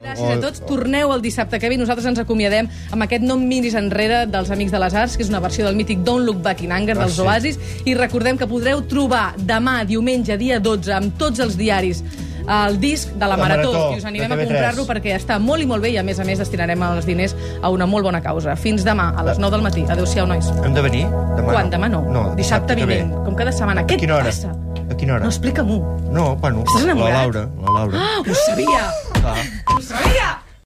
gràcies a tots. Torneu el dissabte que ve. Nosaltres ens acomiadem amb aquest No em miris enrere dels Amics de les Arts, que és una versió del mític Don't Look Back in Anger Ah, dels Oasis. I recordem que podreu trobar demà, diumenge, dia 12, amb tots els diaris el disc de la La Marató, Marató, i us animem de a TV3. comprar-lo perquè està molt i molt bé i, a més a més, destinarem els diners a una molt bona causa. Fins demà, a les 9 del matí. Adéu-siau, nois. Hem de venir? Demà Quan? Demà no. no dissabte, que ve. vinent. Com cada setmana. Què A quina et hora? passa? A quina hora? No, explica-m'ho. No, bueno, Estàs Ah! la enamorat? Laura. La Laura. Ho sabia! Ah. Ho sabia!